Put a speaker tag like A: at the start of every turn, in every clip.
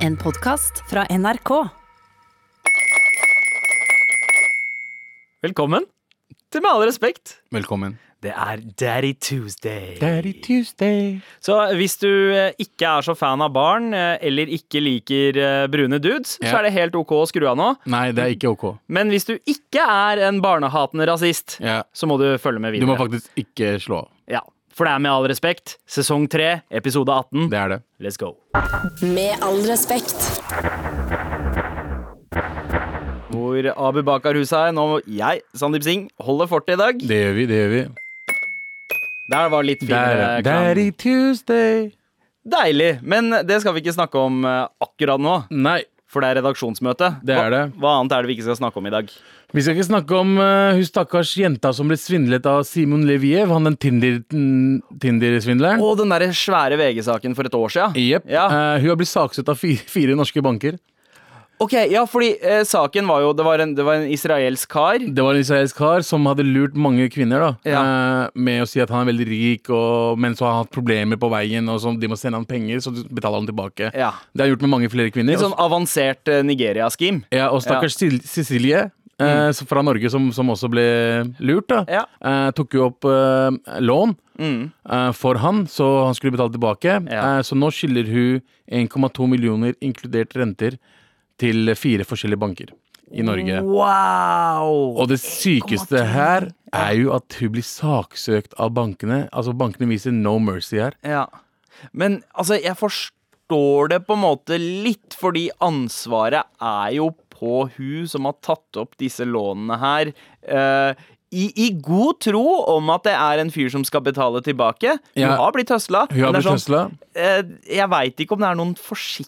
A: En podkast fra NRK.
B: Velkommen til Med all respekt.
C: Velkommen.
B: Det er Daddy Tuesday.
C: Tuesday.
B: Så hvis du eh, ikke er så fan av barn, eh, eller ikke liker eh, brune dudes,
C: Ja.
B: så er det helt ok å skru av nå.
C: Nei, det er ikke ok.
B: Men hvis du ikke er en barnehatende rasist,
C: Ja.
B: så må du følge med
C: Du må
B: videre.
C: faktisk ikke slå av.
B: Ja, for det er Med all respekt, sesong tre, episode 18.
C: Det er det.
B: Let's go.
A: Med all respekt.
B: Hvor Abu Bakar Hussein og jeg, Sandeep Singh, holder fortet i dag.
C: Det gjør vi, det gjør vi.
B: Der var litt finere klang.
C: Daddy Tuesday.
B: Deilig. Men det skal vi ikke snakke om eh, akkurat nå.
C: Nei,
B: For det er redaksjonsmøte.
C: Det er det.
B: Hva, hva annet er det vi ikke skal snakke om i dag?
C: vi skal ikke snakke om eh, hun stakkars jenta som ble svindlet av Simon Leviev, han den Tinder- n- Tinder-svindleren.
B: Å, den derre svære VG-saken for et år sia.
C: Jepp.
B: Ja.
C: Eh, hun har blitt saksøkt av fire, fire norske banker.
B: Ok, ja, fordi eh, saken var jo Det var en, det var en israelsk kar.
C: Det var en israelsk kar som hadde lurt mange kvinner da eh, med å si at han er veldig rik, og, men så har han hatt problemer på veien, og så de må sende han penger, så betaler han tilbake.
B: Ja.
C: Det har jeg gjort med mange flere kvinner.
B: Litt sånn avansert eh, Nigeria-scheme.
C: Ja, og stakkars Sil- Cecilie eh, som- fra Norge, som, som også ble lurt, da,
B: Mm. Ja. Mm.
C: eh, tok jo opp eh, lån eh, for han, så han skulle betale tilbake.
B: Ja.
C: Eh, så nå skylder hun 1,2 millioner, inkludert renter, til fire forskjellige banker i Norge.
B: Oh. Wow!
C: Og det sykeste her er jo at hun blir saksøkt av bankene. Altså, bankene viser no mercy her.
B: Ja. Men altså, jeg forstår det på en måte litt, fordi ansvaret er jo på hun som har tatt opp disse lånene her. eh, i, I god tro om at det er en fyr som skal betale tilbake. Hun
C: Ja.
B: har blitt høsla.
C: Hun har blitt
B: sånn-
C: høsla.
B: Eh, jeg veit ikke om det er noen forsikring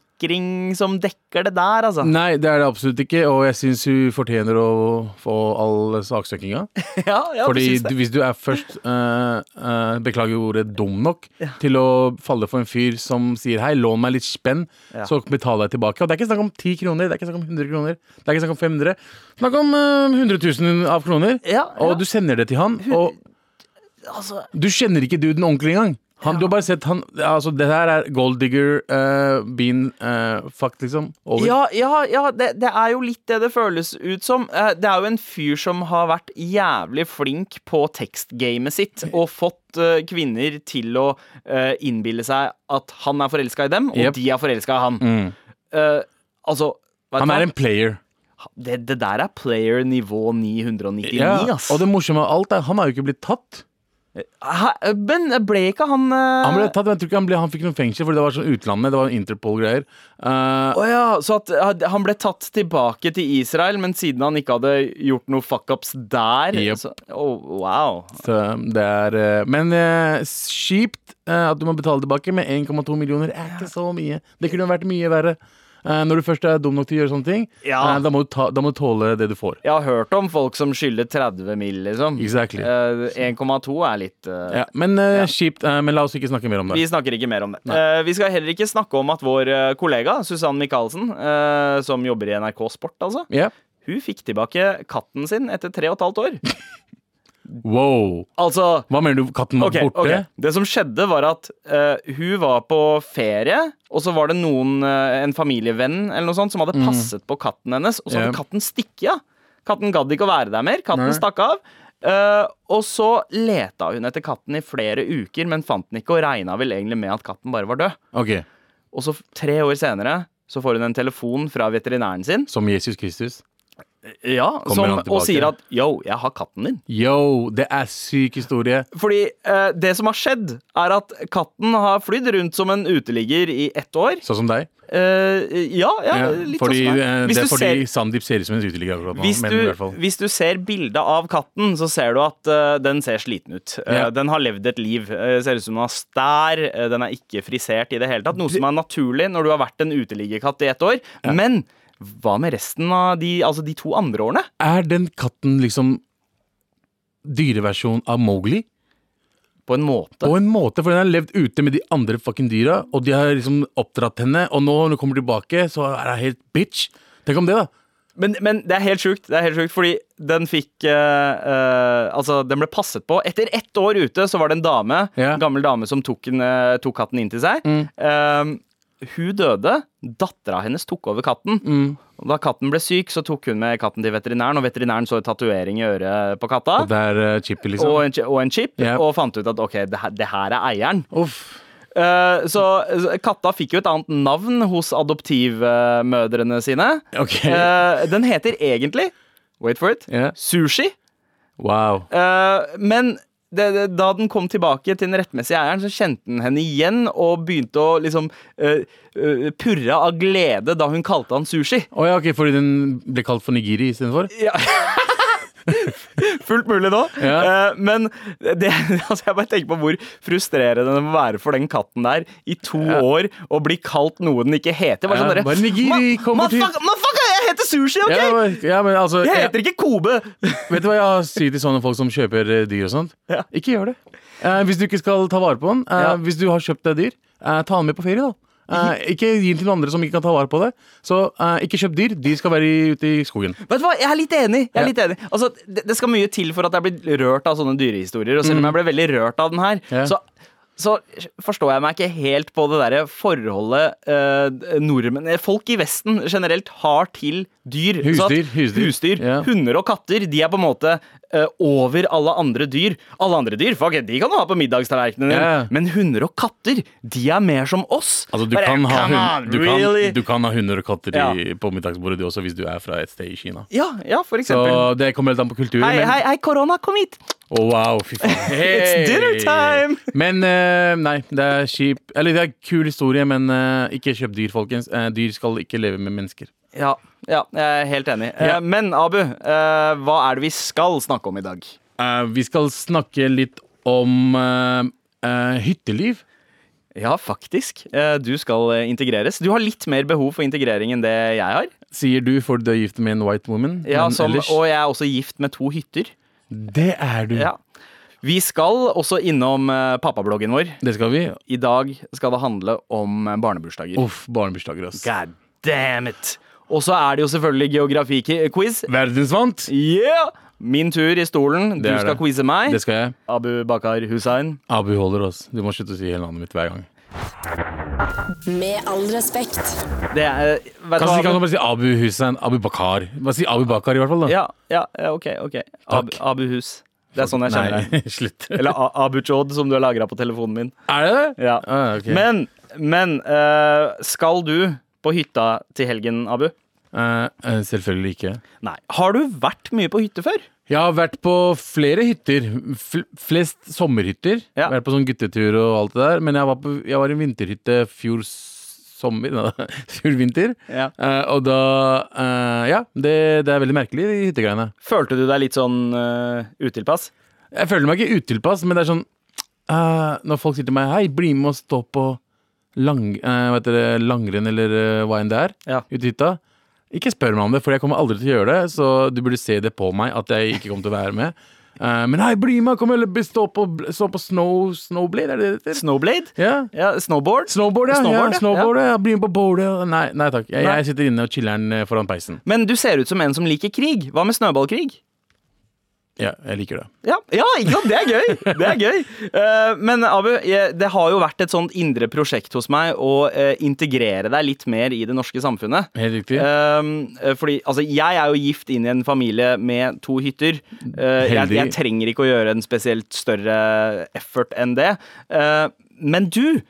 B: som dekker det der, altså.
C: Nei, det er det absolutt ikke, og jeg syns hun fortjener å få all saksøkinga.
B: Ja, ja,
C: Fordi
B: precis
C: du,
B: det.
C: hvis du er først eh, eh, Beklager ordet dum nok til å falle for en fyr som sier 'hei, lån meg litt spenn',
B: Ja.
C: så betaler jeg tilbake. Og det er ikke snakk om 10 kroner, det er ikke snakk om 100 kroner, det er ikke snakk om 500. Snakk om eh, 100 000 av kroner.
B: Ja, ja.
C: Og du sender det til han, og
B: altså,
C: du kjenner ikke duden ordentlig engang. Han, Du har bare sett han Altså, det her er gold digger, eh, bean eh, fuck, liksom. Over.
B: ja, ja, ja det, det er jo litt det det føles ut som. Eh, Det er jo en fyr som har vært jævlig flink på tekstgamet sitt og fått eh, kvinner til å eh, innbille seg at han er forelska i dem, og
C: Jep.
B: de er forelska i han.
C: Mm.
B: Eh, altså vet
C: Han
B: du
C: er
B: hva?
C: en player.
B: det, det der er player nivå 999,
C: Ja,
B: ass.
C: Og det morsomme av alt er, han har jo ikke blitt tatt.
B: Hæ? eh, Men ble ikke han eh,
C: Han ble tatt, men jeg tror ikke han, ble, han fikk noen fengsel, Fordi det var sånn utlandet. Det var Interpol-greier. Eh,
B: Å ja, så at eh, han ble tatt tilbake til Israel, men siden han ikke hadde gjort noe fuckups der
C: Jep.
B: så, Å, Wow.
C: så det er eh, Men eh, kjipt eh, at du må betale tilbake med 1,2 millioner. er ikke så mye. Det kunne vært mye verre. Eh, når du først er dum nok til å gjøre sånne ting,
B: Ja.
C: eh, da, må du ta, da må du tåle det du får.
B: Jeg har hørt om folk som skylder 30 mill., liksom.
C: Exactly.
B: Eh, 1,2 er litt eh,
C: Ja, men eh, kjipt. eh, men la oss ikke snakke mer om det.
B: Vi snakker ikke mer om det. Eh, vi skal heller ikke snakke om at vår eh, kollega Susann Michaelsen, eh, som jobber i NRK Sport, altså,
C: Ja.
B: hun fikk tilbake katten sin etter tre og et halvt år.
C: Wow.
B: Altså
C: Hva mener du? Katten var
B: Ok,
C: borte?
B: ok. Det som skjedde var at eh, hun var på ferie, og så var det noen, eh, en familievenn eller noe sånt, som hadde passet på katten hennes, og så hadde
C: Mm. Ja.
B: katten stikket av. Katten gadd ikke å være der mer. Katten
C: Nei.
B: stakk av. Eh, og så leta hun etter katten i flere uker, men fant den ikke, og regna vel egentlig med at katten bare var død.
C: Ok,
B: Og så f- tre år senere så får hun en telefon fra veterinæren sin
C: Som Jesus Kristus.
B: ja, som,
C: han tilbake?
B: og sier at yo, jeg har katten din.
C: Yo, det er syk historie.
B: Fordi eh, det som har skjedd, er at katten har flydd rundt som en uteligger i ett år.
C: Sånn som deg.
B: Eh, ja, ja,
C: Ja,
B: litt
C: fordi,
B: sånn som
C: eh,
B: meg.
C: det
B: Hvis
C: er
B: du
C: fordi
B: ser,
C: Sandeep ser ut som en uteligger akkurat nå.
B: hvis
C: men i hvert
B: du,
C: fall.
B: hvis du ser bildet av katten, så ser du at eh, den ser sliten ut. Eh,
C: Ja.
B: Den har levd et liv. Eh, ser ut som den har stær. eh, den er ikke frisert i det hele tatt. Noe som er naturlig når du har vært en uteliggerkatt i ett år. Men hva med resten av de, altså de to andre årene?
C: Er den katten liksom dyreversjon av Mowgli?
B: På en måte.
C: På en måte, for den har levd ute med de andre fucking dyra, og de har liksom oppdratt henne, og nå når hun kommer tilbake, så er hun helt bitch. Tenk om det, da.
B: Men, men det er helt sjukt, det er helt sjukt fordi den fikk eh, eh, Altså, den ble passet på. Etter ett år ute så var det en dame, en
C: Ja. Mm.
B: gammel dame som tok, den, eh, tok katten inn til seg. Eh, hun døde. Dattera hennes tok over katten.
C: Mm.
B: Og da katten ble syk, så tok hun med katten til veterinæren, og veterinæren så en tatovering i øret på katta.
C: Og det er eh, chippy, liksom.
B: Og en, chi- og en chip,
C: Yep.
B: og fant ut at ok, det her, det her er eieren.
C: Uff.
B: Eh, så så katta fikk jo et annet navn hos adoptivmødrene sine.
C: Ok.
B: Eh, den heter egentlig, wait for it,
C: Ja.
B: sushi.
C: Wow.
B: Eh, men det, det, da den kom tilbake til den rettmessige eieren, så kjente den henne igjen og begynte å liksom eh, eh, purre av glede da hun kalte han sushi.
C: Å ja, ok, fordi den ble kalt for Nigiri istedenfor?
B: Ja. Fullt mulig nå.
C: Ja.
B: Eh, men det, altså jeg bare tenker på hvor frustrerende det må være for den katten der i to år å bli kalt noe den ikke heter. Bare
C: Ja,
B: sånn derre
C: bare Nigiri
B: "Ma-
C: kommer til."
B: motherfucker- motherfucker, jeg heter sushi, OK?
C: Ja, men- ja, men altså
B: jeg
C: jeg,
B: heter ikke Kobe.
C: Vet du hva jeg sier til sånne folk som kjøper eh, dyr og sånt?
B: Ja.
C: Ikke gjør det. Eh, hvis du ikke skal ta vare på den, eh,
B: Ja. Mhm.
C: hvis du har kjøpt deg dyr, eh, ta den med på ferie, da. Eh, ikke gi den til noen andre som ikke kan ta vare på det. Så eh, ikke kjøp dyr. De skal være i- ute i skogen.
B: Vet du hva, Jeg er litt enig. jeg er
C: Ja.
B: litt enig Altså, det, det skal mye til for at jeg blir rørt av sånne dyrehistorier. Og selv om jeg ble veldig rørt av den her,
C: Mm. Ja.
B: så, så forstår jeg meg ikke helt på det derre forholdet eh, nordmenn eh, Folk i Vesten generelt har til dyr. Så at
C: Husdyr, husdyr. Ja.
B: Hunder og katter de er på en måte eh, over alle andre dyr. Alle andre dyr fuck, it, de kan du ha på middagstallerkenen din,
C: Ja.
B: men hunder og katter de er mer som oss.
C: Altså, du,
B: Bare,
C: kan ha
B: come
C: hun,
B: on,
C: du, kan,
B: really?
C: du kan ha hunder og katter i,
B: Ja.
C: på middagsbordet du også, hvis du er fra et sted i Kina.
B: Ja, ja, for eksempel.
C: Så det kommer helt an på kulturen.
B: Hei,
C: men-
B: hei, hei, korona, kom hit!
C: Å, wow, fy faen.
B: It's dinner time!
C: Men eh, nei, det er kjip Eller det er kul historie, men eh, ikke kjøp dyr, folkens. Eh, dyr skal ikke leve med mennesker.
B: Ja, ja, jeg er helt enig. Eh,
C: Ja.
B: Men Abu, eh, hva er det vi skal snakke om i dag?
C: Eh, vi skal snakke litt om eh, eh, hytteliv.
B: Ja, faktisk. Eh, Du skal eh, integreres. Du har litt mer behov for integrering enn det jeg har.
C: Sier du, for du er gift med en white woman.
B: Ja,
C: men
B: som,
C: ellers-
B: og jeg er også gift med to hytter.
C: Det er du.
B: Ja. Vi skal også innom eh, pappabloggen vår.
C: Det skal vi.
B: I dag skal det handle om eh, barnebursdager.
C: Uff, barnebursdager, ass.
B: God damn it! Og så er det jo selvfølgelig geografi-quiz.
C: Verdensvant!
B: Yeah! Min tur i stolen. Du
C: Det er
B: skal
C: det.
B: quize meg.
C: Det skal jeg.
B: Abu Bakar Hussein.
C: Abu holder oss. Du må slutte å si hele navnet mitt hver gang.
A: Med all respekt.
B: Det er, vet du
C: Kan
B: hva,
C: du
B: Abu?
C: bare si Abu Hussein? Abu Bakar? Bare si Abu Bakar, i hvert fall. da
B: Ja, ja, ja, ok, ok. Ab
C: Takk.
B: Abuhus. Det er sånn jeg kjenner deg.
C: Nei, slutt.
B: Eller A- Abu Chod, som du har lagra på telefonen min.
C: Er det det?
B: Ja.
C: Ah, ok.
B: Men, men eh, skal du på hytta til helgen, Abu?
C: Eh, eh, selvfølgelig ikke.
B: Nei. Har du vært mye på hytte før?
C: Jeg har vært på flere hytter. Fl flest sommerhytter.
B: Ja.
C: Vært på sånn guttetur og alt det der. Men jeg var, på, jeg var i en vinterhytte fjor sommer. Nei, fjor vinter.
B: Ja.
C: Eh, og da eh, Ja, det, det er veldig merkelig, de hyttegreiene.
B: Følte du deg litt sånn eh, utilpass?
C: Jeg føler meg ikke utilpass, men det er sånn eh, Når folk sier til meg 'hei, bli med og stå på lang, eh, hva heter det, langrenn' eller eh, hva enn det er,
B: Ja.
C: ute i hytta Ikke spør meg om det, for jeg kommer aldri til å gjøre det, så du burde se det på meg at jeg ikke kommer til å være med. Eh, men hei, bli med! Kom eller bli- stå på, stå på snow, snowblade, er det det heter?
B: Snowblade?
C: Ja.
B: Ja, snowboard?
C: Snowboard,
B: Snowboard,
C: ja. Snowboard,
B: ja.
C: ja. Snowboard, ja. Bli med på boardet. Nei, nei takk. Jeg,
B: Nei.
C: jeg sitter inne og chiller'n eh, foran peisen.
B: Men du ser ut som en som liker krig. Hva med snøballkrig?
C: Ja, jeg liker det.
B: Ja, ja ikke sant? det er gøy. Det er gøy. Eh, men Abu, jeg- det har jo vært et sånt indre prosjekt hos meg å eh, integrere deg litt mer i det norske samfunnet.
C: Helt riktig.
B: Um, eh, fordi altså, jeg er jo gift inn i en familie med to hytter. Eh, jeg,
C: Heldig.
B: jeg trenger ikke å gjøre en spesielt større effort enn det. Eh, men du,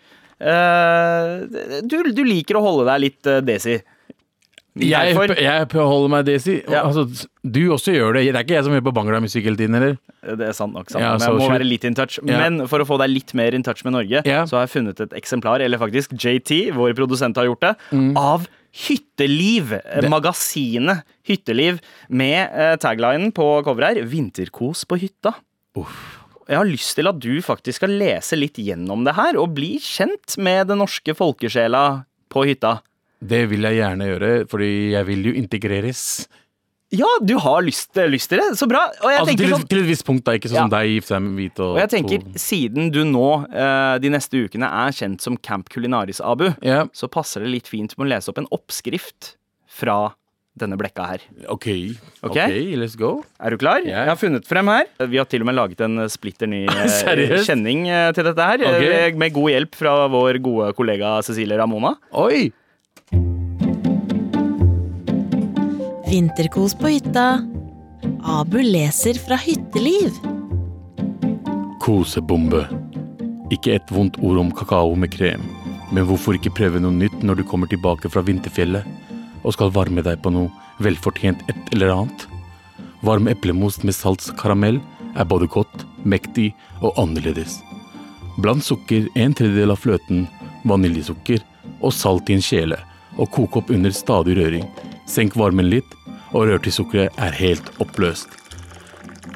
B: eh, du Du liker å holde deg litt eh, desi.
C: Jeg,
B: Derfor-
C: jeg holder meg desi.
B: Ja.
C: Altså, du også gjør det. Det er ikke jeg som hører på Bangla-musikk hele tiden, eller?
B: Eh, Det er sant nok. Sant.
C: Ja,
B: nok. men
C: så
B: jeg må
C: slutt.
B: være litt in touch.
C: Ja.
B: Men for å få deg litt mer in touch med Norge,
C: Ja.
B: så har jeg funnet et eksemplar, eller faktisk JT, vår produsent har gjort det,
C: Mm.
B: av Hytteliv. eh, Magasinet Hytteliv med eh, taglinen på coveret her 'Vinterkos på hytta'. Jeg har lyst til at du faktisk skal lese litt gjennom det her, og bli kjent med den norske folkesjela på hytta.
C: Det vil jeg gjerne gjøre, fordi jeg vil jo integreres.
B: Ja, du har lyst, lyst til det. Så bra. Og jeg
C: Altså,
B: tenker
C: til,
B: sånn
C: et- til et visst punkt, da. Ikke sånn
B: Ja.
C: som deg, gifte seg med hvit og
B: Og jeg tenker,
C: to-
B: siden du nå eh, de neste ukene er kjent som Camp Culinaris Abu,
C: ja.
B: så passer det litt fint med å lese opp en oppskrift fra denne blekka her.
C: Ok.
B: Ok.
C: ok, let's go.
B: Er du klar?
C: Ja.
B: Jeg har funnet frem her. Vi har til og med laget en eh, splitter ny eh,
C: Seriøst?
B: kjenning eh, til dette her. eh,
C: Ok.
B: Med god hjelp fra vår gode kollega Cecilie Ramona.
C: Oi!
D: Vinterkos på hytta. Abu leser fra hytteliv.
C: Kosebombe. Ikke et vondt ord om kakao med krem, men hvorfor ikke prøve noe nytt når du kommer tilbake fra vinterfjellet og skal varme deg på noe velfortjent et eller annet? Varm eplemos med saltskaramell er både godt, mektig og annerledes. Bland sukker, en tredjedel av fløten, vaniljesukker og salt i en kjele, og kok opp under stadig røring. Senk varmen litt, og rør til sukkeret er helt oppløst.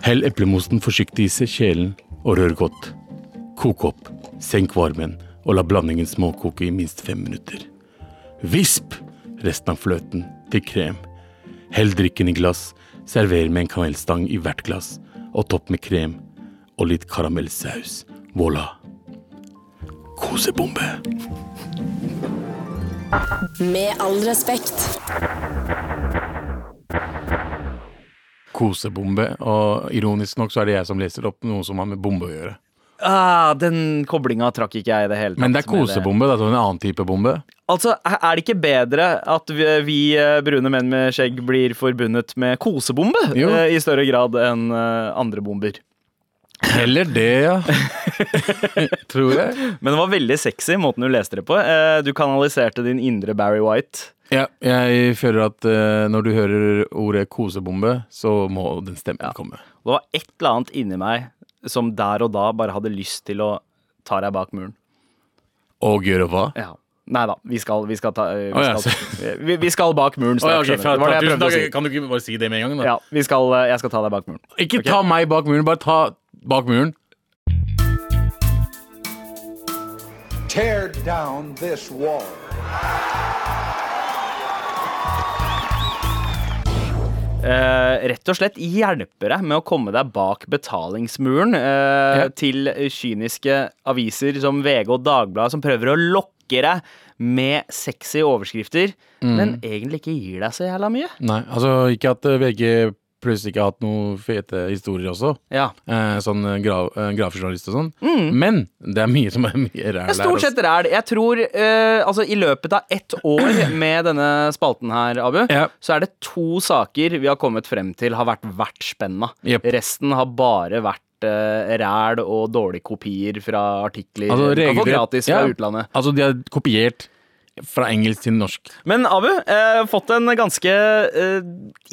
C: Hell eplemosten forsiktig i kjelen og rør godt. Kok opp, senk varmen og la blandingen småkoke i minst fem minutter. Visp resten av fløten til krem. Hell drikken i glass, server med en kamelstang i hvert glass, og topp med krem og litt karamellsaus. Voilà. Kosebombe.
A: Med all respekt.
C: Kosebombe, og ironisk nok så er det jeg som leser opp noe som har med bombe å gjøre.
B: Ah, den koblinga trakk ikke jeg i det hele tatt.
C: Men det er
B: med
C: kosebombe, det er en annen type bombe.
B: Altså, er er det ikke bedre at vi, vi eh, brune menn med skjegg blir forbundet med kosebombe
C: Jo.
B: eh, i større grad enn eh, andre bomber?
C: Heller det, ja. Tror jeg.
B: Men det var veldig sexy måten du leste det på. Eh, Du kanaliserte din indre Barry White.
C: Ja, jeg føler at eh, når du hører ordet kosebombe, så må den stemmen komme.
B: Det var et eller annet inni meg som der og da bare hadde lyst til å ta deg bak muren.
C: Og gjøre hva?
B: Ja. Nei da, vi skal, vi skal ta eh, vi,
C: Å, ja,
B: skal, vi, vi skal bak muren snart. skjønner du. det var det jeg prøvde å si.
C: Kan du ikke bare si det med en gang,
B: Ja, vi skal, eh, jeg skal ta deg bak muren.
C: Ikke ta meg bak muren, bare ta bak muren.
E: tear down this wall.
B: Eh, rett og slett hjelper deg med å komme deg bak betalingsmuren eh,
C: Ja.
B: til kyniske aviser som VG og Dagbladet som prøver å lokke deg med sexy overskrifter, men egentlig ikke gir deg så jævla mye.
C: Nei, altså ikke at eh, VG plutselig ikke har hatt noen fete historier også.
B: Ja.
C: Eh, sånn eh, gra- eh, gravejournalist og sånn. Men det er mye som er mye ræl
B: Mm. Det er Stort
C: altså.
B: sett ræl. Jeg tror eh, altså i løpet av ett år med denne spalten her, Abu,
C: Ja.
B: så er det to saker vi har kommet frem til har vært vertsspenna.
C: Jep.
B: Resten har bare vært eh, ræl og dårlige kopier fra artikler
C: Altså,
B: du kan få
C: regelrett-
B: gratis fra
C: ja.
B: utlandet.
C: Altså, de har kopiert fra engelsk til norsk.
B: Men Abu, eh, fått en ganske eh,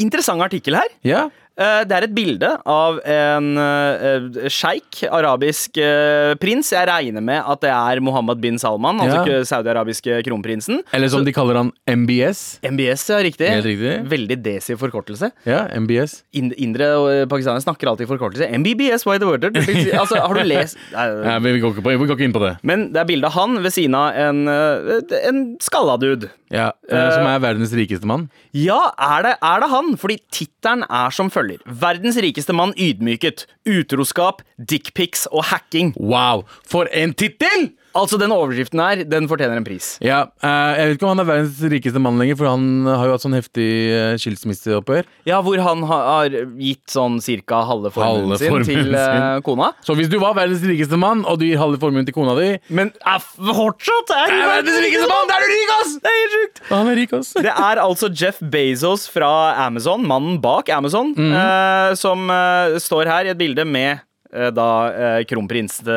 B: interessant artikkel her.
C: Ja.
B: Eh, Det er et bilde av en eh, sjeik, arabisk eh, prins. Jeg regner med at det er Mohammed bin Salman, altså
C: Ja.
B: ikke saudiarabiske kronprinsen.
C: Eller som de kaller han MBS.
B: MBS, ja, riktig.
C: Helt riktig.
B: Veldig desi forkortelse.
C: Ja, MBS.
B: Ind- Indre og pakistanere snakker alltid forkortelse. MBBS, why the word? Altså, har du lest Nei.
C: Nei, vi, vi, går ikke på, vi går ikke inn på det.
B: Men det er bilde av han ved siden av en, eh, en skalla dude.
C: Ja, eh, som er verdens rikeste mann.
B: Ja, er det, er det han? Fordi tittelen er som følger. Verdens rikeste mann ydmyket. Utroskap, dickpics og hacking.
C: Wow, for en tittel!
B: Altså, den overskriften her, den fortjener en pris.
C: Ja, eh, Jeg vet ikke om han er verdens rikeste mann lenger, for han har jo hatt sånn heftig eh, skilsmisseopphør.
B: Ja, hvor han har har gitt sånn cirka halve formuen
C: Halve
B: sin
C: formuen
B: til eh,
C: sin.
B: kona.
C: Så hvis du var verdens rikeste mann, og du gir halve formuen til kona di
B: Men eh, fortsatt er
C: Jeg er verdens rikeste mann! Da er du rik, ass!
B: Det er helt sjukt!
C: Han er rik, ass.
B: Det er altså Jeff Bezos fra Amazon, mannen bak Amazon, eh, som eh, står her i et bilde med eh, da eh, kronprins eh,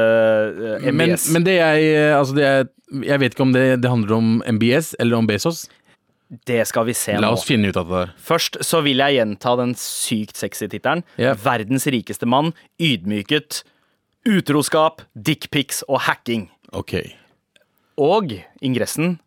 B: eh,
C: Men,
B: MBS.
C: men det jeg eh, Altså, det jeg, jeg vet ikke om det, det handler om MBS eller om Bezos.
B: det skal vi se
C: La
B: nå.
C: oss finne ut av det der.
B: Først så vil jeg gjenta den sykt sexy tittelen.
C: Ja.
B: Verdens rikeste mann ydmyket. Utroskap, dickpics og hacking.
C: Ok.
B: Og ingressen.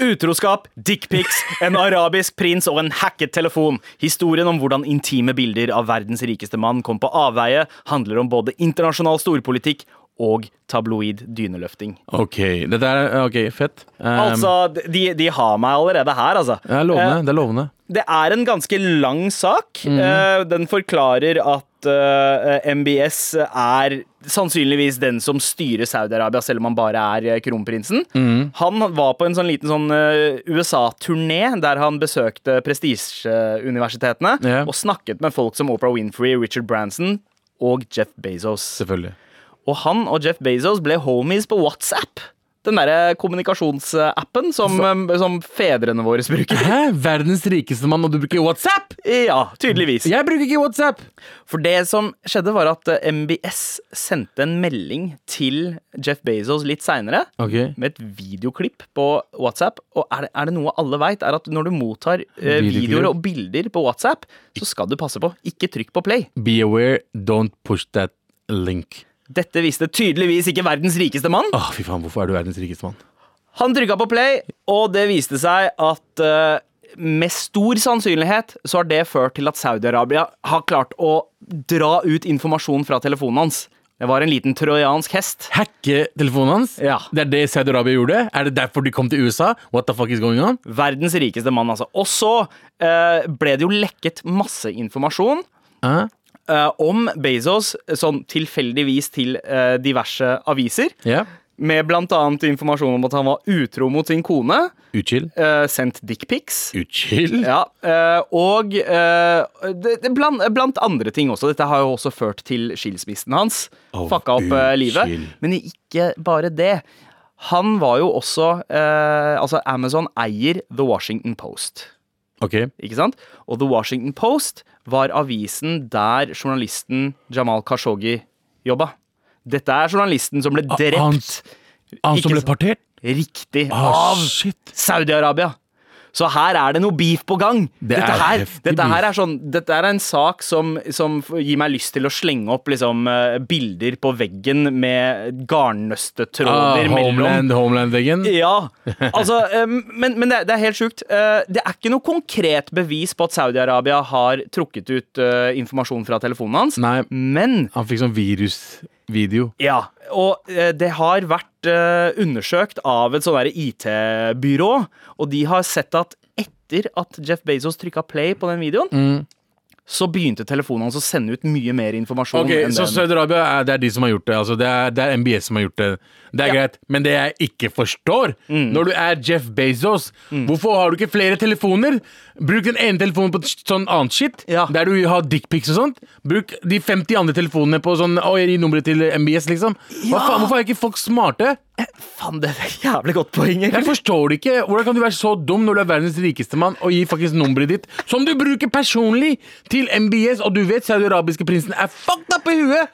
B: Utroskap, dickpics, en arabisk prins og en hacket telefon. Historien om hvordan intime bilder av verdens rikeste mann kom på avveie, handler om både internasjonal storpolitikk og tabloid dyneløfting.
C: Ok, dette er ok, fett. Um,
B: altså, de, de har meg allerede her, altså.
C: det er lovende.
B: Eh,
C: det er lovende.
B: Det er en ganske lang sak. Eh, Den forklarer at eh, MBS er sannsynligvis den som styrer Saudi-Arabia, selv om han bare er eh, kronprinsen. Han var på en sånn liten sånn eh, USA-turné der han besøkte prestisjeuniversitetene
C: Ja.
B: og snakket med folk som Oprah Winfrey, Richard Branson og Jeff Bezos.
C: Selvfølgelig.
B: Og han og Jeff Bezos ble homies på WhatsApp. Den derre kommunikasjonsappen som, eh, som fedrene våre bruker.
C: Hæ? Verdens rikeste mann, og du bruker WhatsApp?
B: Ja, tydeligvis.
C: Jeg bruker ikke WhatsApp!
B: For det som skjedde var at eh, MBS sendte en melding til Jeff Bezos litt seinere.
C: Ok.
B: Med et videoklipp på WhatsApp. Og er det, er det noe alle veit, er at når du mottar eh,
C: Videoklipp.
B: videoer og bilder på WhatsApp, så skal du passe på. Ikke trykk på play.
C: Be aware, don't push that link.
B: Dette visste tydeligvis ikke verdens rikeste mann.
C: Åh, fy faen, hvorfor er du verdens rikeste mann?
B: Han trykka på play, og det viste seg at eh, med stor sannsynlighet så har det ført til at Saudi-Arabia har klart å dra ut informasjon fra telefonen hans. Det var en liten trojansk hest.
C: Hacke telefonen hans?
B: Ja.
C: Det er det Saudi-Arabia gjorde? Er det derfor de kom til USA? What the fuck is going on?
B: Verdens rikeste mann, altså. Og så eh, ble det jo lekket masse informasjon
C: Hæ?
B: eh, om Bezos, sånn tilfeldigvis til eh, diverse aviser.
C: Ja.
B: Med bl.a. informasjon om at han var utro mot sin kone.
C: Utchill.
B: eh, sendt dickpics.
C: Utchill?
B: Ja, eh, og eh, det, det blant, blant andre ting også. Dette har jo også ført til skilsmissen hans.
C: Av
B: Fucka opp eh, livet.
C: uskyld.
B: Men ikke bare det. Han var jo også eh, Altså, Amazon eier The Washington Post.
C: Ok.
B: Ikke sant? Og The Washington Post var avisen der journalisten Jamal Khashoggi jobba. Dette er journalisten som ble drept
C: Ah, han- Han som
B: Ikke
C: ble
B: sant.
C: partert?
B: riktig
C: Ah,
B: av
C: shit.
B: Saudi-Arabia. Så her er det noe beef på gang.
C: Det
B: dette,
C: er
B: her,
C: heftig
B: dette her
C: beef.
B: er sånn Dette er en sak som, som gir meg lyst til å slenge opp liksom, eh, bilder på veggen med
C: Ah,
B: garnnøstetråder mellom.
C: homeland, homeland-veggen?
B: Ja, altså, eh, men, men det, er- det er helt sjukt. Eh, Det er ikke noe konkret bevis på at Saudi-Arabia har trukket ut eh, informasjon fra telefonen hans,
C: Nei.
B: men
C: Han fikk sånn virusvideo.
B: ja, og eh, det har vært eh, undersøkt av et sånn derre IT-byrå, og de har sett at etter at Jeff Bezos trykka play på den videoen, så begynte telefonen hans å sende ut mye mer informasjon.
C: Ok,
B: enn
C: Så
B: den.
C: Saudi-Arabia er, det er de som har gjort det. Altså, det, er, det er MBS som har gjort det. Det er greit. Men det jeg ikke forstår,
B: Mm.
C: når du er Jeff Bezos, hvorfor har du ikke flere telefoner? Bruk den ene telefonen på t- sånn annet shit,
B: Ja.
C: der du har dickpics og sånt. Bruk de 50 andre telefonene på sånn Å, jeg gir nummeret til MBS, liksom. Hva faen, hvorfor er ikke folk smarte?
B: Faen, det er et jævlig godt poeng. egentlig.
C: Jeg forstår det ikke. Hvordan kan du være så dum når du er verdens rikeste mann og gir faktisk nummeret ditt, som du bruker personlig, til MBS, og du vet saudiarabiske prinsen er fucked up i huet?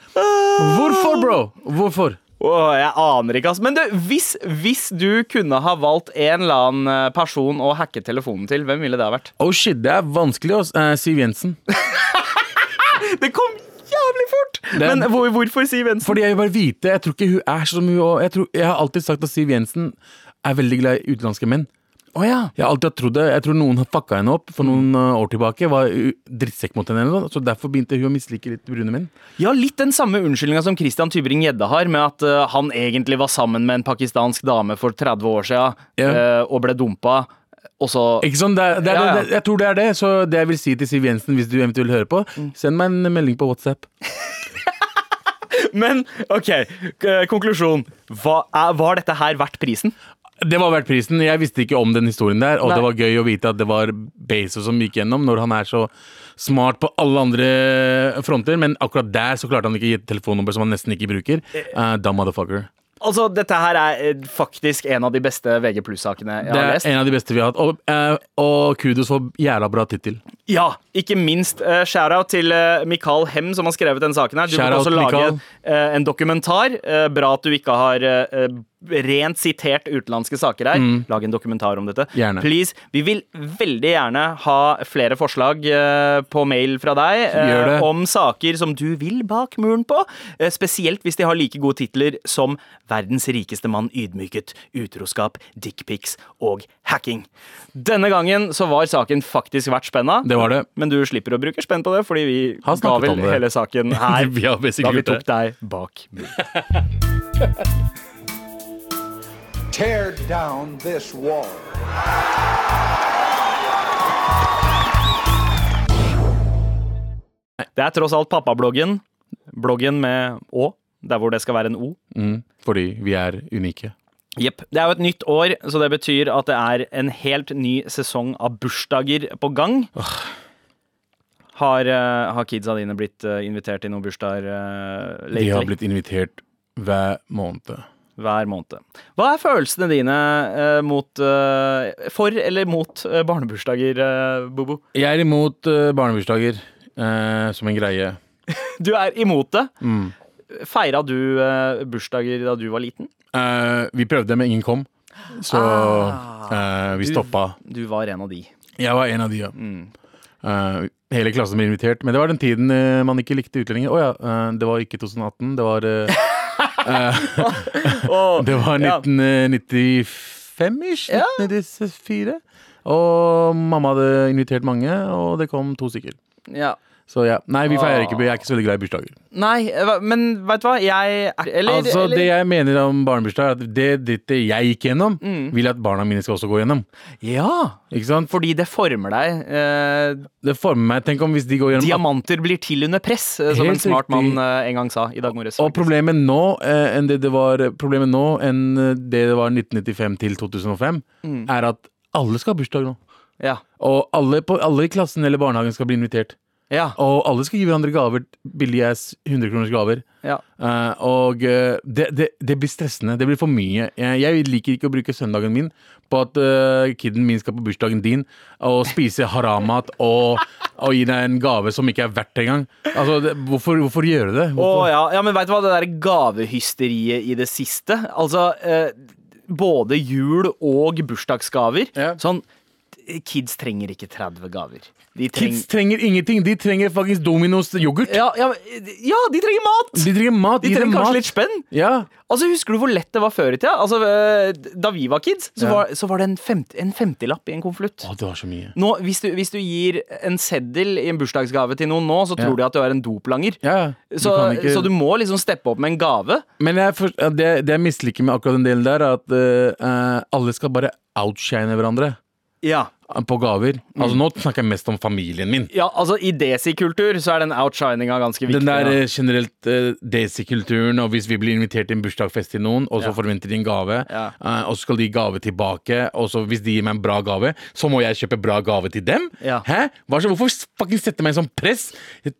C: Hvorfor, bro? Hvorfor?
B: Åh, jeg aner ikke, ass. Men du, hvis, hvis du kunne ha valgt en eller annen eh, person å hacke telefonen til, hvem ville det ha vært?
C: Oh shit, det er vanskelig, ass. Eh, Siv Jensen.
B: Det kom jævlig fort!
C: er-
B: Men hvor, hvorfor Siv Jensen?
C: Fordi jeg vil bare vite. Jeg tror ikke hun er som hun og jeg, tror, jeg har alltid sagt at Siv Jensen er veldig glad i utenlandske menn.
B: Å ja.
C: Jeg har alltid trodd det. Jeg tror noen har fucka henne opp for noen eh, år tilbake. Var eh, drittsekk mot henne eller noe, sånt, så derfor begynte hun å mislike litt brune menn.
B: Ja, litt den samme unnskyldninga som Christian Tybring-Gjedde har, med at eh, han egentlig var sammen med en pakistansk dame for 30 år sia
C: Ja.
B: eh, og ble dumpa, og så
C: Ikke sånn, det er, det er,
B: Ja, ja.
C: Det, jeg tror det er det. Så det jeg vil si til Siv Jensen, hvis du eventuelt hører på,
B: Mm.
C: send meg en melding på WhatsApp.
B: Men OK, eh, konklusjon. Hva er, var dette her verdt prisen?
C: Det var verdt prisen. Jeg visste ikke om den historien der, og
B: Nei.
C: det var gøy å vite at det var Bezos som gikk gjennom, når han er så smart på alle andre fronter, men akkurat der så klarte han ikke å gi et telefonnummer som han nesten ikke bruker.
B: Eh.
C: Uh, dumb motherfucker.
B: Altså, dette her er eh, faktisk en av de beste VG pluss-sakene jeg
C: Det
B: har
C: er
B: lest.
C: en av de beste vi har hatt. Og, eh, og kudos for jævla bra tittel.
B: Ja, ikke minst. Uh, Shout-out til eh, Mikael Hem, som har skrevet denne saken. her Du burde
C: Shout-out,
B: også lage
C: Mikael.
B: eh, en dokumentar. Eh, bra at du ikke har eh, eh, rent sitert utenlandske saker her. Lag en dokumentar om dette.
C: Mm. Gjerne.
B: Please. Vi vil veldig gjerne ha flere forslag eh, på mail fra deg eh,
C: Gjør det.
B: om saker som du vil bak muren på. Eh, spesielt hvis de har like gode titler som 'Verdens rikeste mann ydmyket', 'Utroskap', 'Dickpics' og 'Hacking'. Denne gangen så var saken faktisk verdt spenna.
C: Det var det.
B: Men du slipper å bruke spenn på det, fordi vi
C: Har
B: ga
C: snakket
B: vel
C: om det.
B: hele saken her
C: Vi har
B: da vi
C: basically
B: tok
C: gjort det.
B: deg bak muren.
E: Tear down this wall.
B: Det er tross alt pappabloggen. Bloggen med Å, der hvor det skal være en O.
C: Mm, fordi vi er unike.
B: Jepp. Det er jo et nytt år, så det betyr at det er en helt ny sesong av bursdager på gang. Har, eh, har kidsa dine blitt eh, invitert til noen bursdager eh,
C: De har
B: lately?
C: blitt invitert hver måned.
B: Hver måned. Hva er følelsene dine eh, mot eh, For eller mot eh, barnebursdager, eh, Bobo?
C: Jeg er imot eh, barnebursdager eh, som en greie.
B: Du er imot det.
C: Mm.
B: Feira du eh, bursdager da du var liten?
C: Eh, vi prøvde, men ingen kom. Så eh, vi stoppa.
B: Ah. Du Mm. var en av de.
C: Jeg var en av de, ja. Eh, hele klassen ble invitert. Men det var den tiden eh, man ikke likte utlendinger. Å ja, eh, det var ikke 2018, det var eh,
B: Åh,
C: Det var
B: ja.
C: 1995-ish?
B: Ja.
C: 1994? Og mamma hadde invitert mange, og det kom to stykker.
B: Ja.
C: Så ja, Nei, vi feirer ikke.
B: Åh.
C: Jeg er ikke så veldig glad i bursdager.
B: Nei, hva- men vet du hva? Jeg er- eller,
C: altså,
B: eller,
C: Det jeg mener om barnebursdag, er at det drittet jeg gikk gjennom,
B: Mm.
C: vil jeg at barna mine skal også gå gjennom.
B: Ja!
C: Ikke sant?
B: Fordi det former deg. Eh,
C: Det former meg, tenk om hvis de går gjennom
B: diamanter blir til under press, eh, som
C: Helt
B: en smart
C: riktig.
B: mann eh, en gang sa i dag morges.
C: Og problemet nå eh, enn det det var Problemet nå enn det det var 1995 til 2005,
B: Mm.
C: er at alle skal ha bursdag nå.
B: Ja.
C: Og alle, på, alle i klassen eller barnehagen skal bli invitert.
B: Ja.
C: Og alle skal gi hverandre gaver. Billige ass 100 kroners gaver.
B: ja.
C: Eh, og eh, det, det, det blir stressende. Det blir for mye. Jeg, jeg liker ikke å bruke søndagen min på at uh, kiden min skal på bursdagen din og spise haramat og, og gi deg en gave som ikke er verdt det engang. Altså, det, hvorfor, hvorfor gjøre det?
B: Å
C: Hvorfor?
B: ja. ja, men veit du hva, det der gavehysteriet i det siste Altså, eh, både jul og bursdagsgaver.
C: Ja.
B: Sånn Kids trenger ikke 30 gaver. De
C: Kids
B: trenger
C: trenger ingenting. De trenger faktisk Dominos yoghurt.
B: ja, ja, men- ja, de trenger mat!
C: De trenger mat.
B: De
C: Gi dem
B: trenger
C: mat.
B: kanskje litt spenn.
C: Ja.
B: Altså, Husker du hvor lett det var før i tida? Altså, eh, da vi var kids, så,
C: Ja.
B: var, så var det en, femt, en femtilapp i en konvolutt.
C: Å, det var så mye.
B: Nå, hvis du, hvis du gir en seddel i en bursdagsgave til noen nå, så tror de at du er en doplanger.
C: Ja,
B: så,
C: kan ikke-
B: så du må liksom steppe opp med en gave.
C: Men jeg forst- ja, det, det jeg misliker med akkurat den delen der, er at eh, eh, alle skal bare outshine hverandre
B: Ja.
C: eh, på gaver.
B: Mm.
C: Altså Nå snakker jeg mest om familien min.
B: altså I desikultur så er den outshininga ganske viktig.
C: Den der
B: ja.
C: eh, generelt eh, desi-kulturen, og hvis vi blir invitert til en bursdagsfest til noen, og så forventer de en gave,
B: Ja.
C: eh, og så skal de gi gave tilbake, og så hvis de gir meg en bra gave, så må jeg kjøpe bra gave til dem?
B: Ja.
C: Hæ? Hva så, hvorfor fucking sette meg i sånn press?
B: jeg,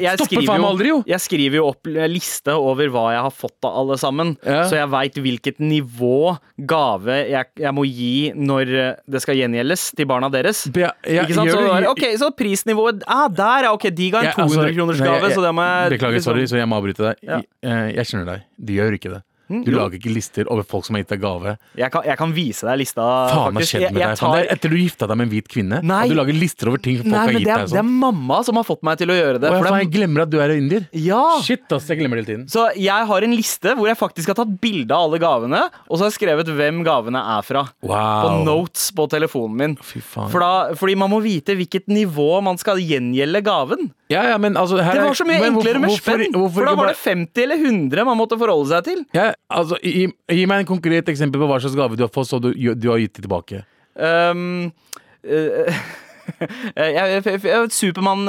B: jeg
C: Stopper
B: skriver
C: faen meg aldri, jo.
B: Jeg skriver jo opp liste over hva jeg har fått av alle sammen,
C: Ja.
B: så jeg veit hvilket nivå gave jeg, jeg må gi når eh, det skal gjengjeldes til barna deres.
C: Ja, ja,
B: ikke sant?
C: gjør
B: Så, det
C: det.
B: var, ok, så prisnivået ah, Der, ja. Ok, de ga en
C: Jeg- altså,
B: 200 kroners
C: nei,
B: gave,
C: jeg-
B: så det må jeg
C: Beklager,
B: liksom-
C: sorry, så jeg må avbryte deg.
B: Ja. Hm?
C: I- eh, Jeg skjønner deg. Du gjør ikke det. Du
B: jo.
C: lager ikke lister over folk som har gitt deg gave.
B: Jeg kan, jeg kan vise deg lista,
C: Faen, hva
B: faktisk.
C: skjedde med
B: jeg, jeg
C: deg? faen?
B: tar,
C: Det er etter du gifta deg med en hvit kvinne,
B: Nei.
C: og du lager lister over ting folk
B: nei,
C: har
B: men
C: gitt
B: det
C: deg.
B: er, det er
C: Sånn.
B: mamma som har fått meg til å gjøre det. for
C: Å, ja,
B: det
C: faen,
B: er-
C: jeg glemmer at du er indier.
B: ja.
C: Shit, ass, jeg glemmer det hele tiden.
B: Så jeg har en liste hvor jeg faktisk har tatt bilde av alle gavene, og så har jeg skrevet hvem gavene er fra. På
C: Wow.
B: notes på telefonen min.
C: Fy faen.
B: For da, fordi man må vite hvilket nivå man skal gjengjelde gaven.
C: Ja, ja, men altså her
B: Det
C: er-
B: var så mye
C: men hvorfor-
B: enklere med
C: hvorfor-
B: spenn!
C: hvorfor
B: For da
C: ikke
B: var
C: bare-
B: det 50 eller 100 man måtte forholde seg til.
C: ja, altså, gi, gi meg en konkret eksempel på hva slags gave du har fått, så du, du har gitt det tilbake.
B: Um, eh, jeg- jeg- jeg-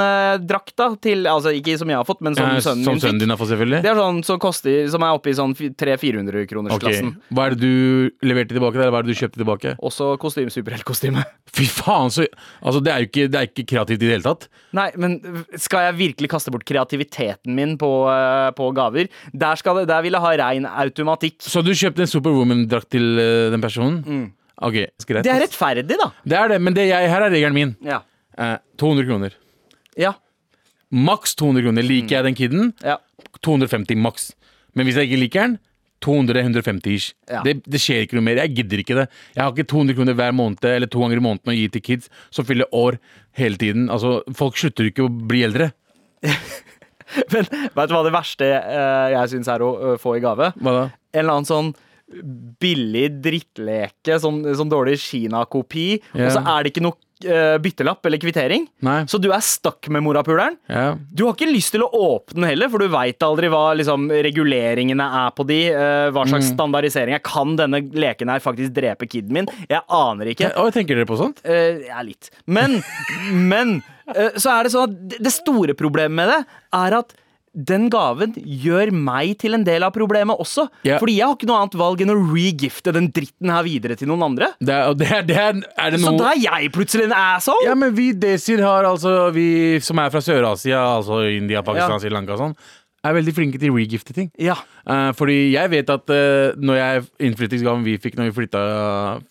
B: Supermann-drakta til Altså ikke som jeg har fått, men som
C: Eh,
B: sønnen min fikk.
C: din har fått, selvfølgelig.
B: Det er sånn som koster Som er oppe i sånn 300-400 kroners
C: Ok.
B: klassen.
C: Hva er det du leverte tilbake, der, eller hva er det du kjøpte tilbake?
B: Også kostyme, superheltkostyme.
C: Fy faen, så Altså, det er jo ikke, det er ikke kreativt i det hele tatt.
B: Nei, men skal jeg virkelig kaste bort kreativiteten min på, eh, på gaver? Der, skal det, der vil jeg ha rein automatikk.
C: Så du kjøpte en Superwoman-drakt til eh, den personen? Ok, greit.
B: Mm. Det er rettferdig, da.
C: Det er det, men det jeg, her er regelen min.
B: Ja.
C: Eh, 200 kroner.
B: Ja. Mm.
C: Maks 200 kroner. Liker jeg den kiden?
B: ja.
C: 250 maks. Men hvis jeg ikke liker den, 200-150 ish.
B: Ja.
C: Det, det skjer ikke noe mer. Jeg gidder ikke det. Jeg har ikke 200 kroner hver måned eller to ganger i måneden å gi til kids som fyller år hele tiden. Altså, Folk slutter ikke å bli eldre.
B: Men vet du hva det verste eh, jeg syns er å eh, få i gave?
C: Hva da?
B: En eller annen sånn billig drittleke, sånn, sånn dårlig Kina-kopi,
C: Ja.
B: og så er det ikke noe eh, byttelapp eller kvittering.
C: Nei.
B: Så du er stakk med morapuleren.
C: Ja.
B: Du har ikke lyst til å åpne den heller, for du veit aldri hva liksom, reguleringene er på de. eh, hva slags standardisering er. Kan denne leken her faktisk drepe kiden min? Jeg aner ikke.
C: Å, tenker dere på sånt?
B: Eh, ja, litt. Men, men eh, så er det sånn at det- det store problemet med det er at den gaven gjør meg til en del av problemet også.
C: Ja.
B: Fordi jeg har ikke noe annet valg enn å regifte den dritten her videre til noen andre.
C: Det er, og det er, det er, er det
B: Så
C: noe
B: da er jeg plutselig en asshole!
C: Ja, men vi desir har altså Vi som er fra Sør-Asia, altså India, Pakistan,
B: Ja.
C: Sri Lanka og sånn, er veldig flinke til å regifte ting.
B: Ja.
C: Eh, fordi jeg vet at eh, når jeg innflyttingsgaven vi fikk når vi flytta,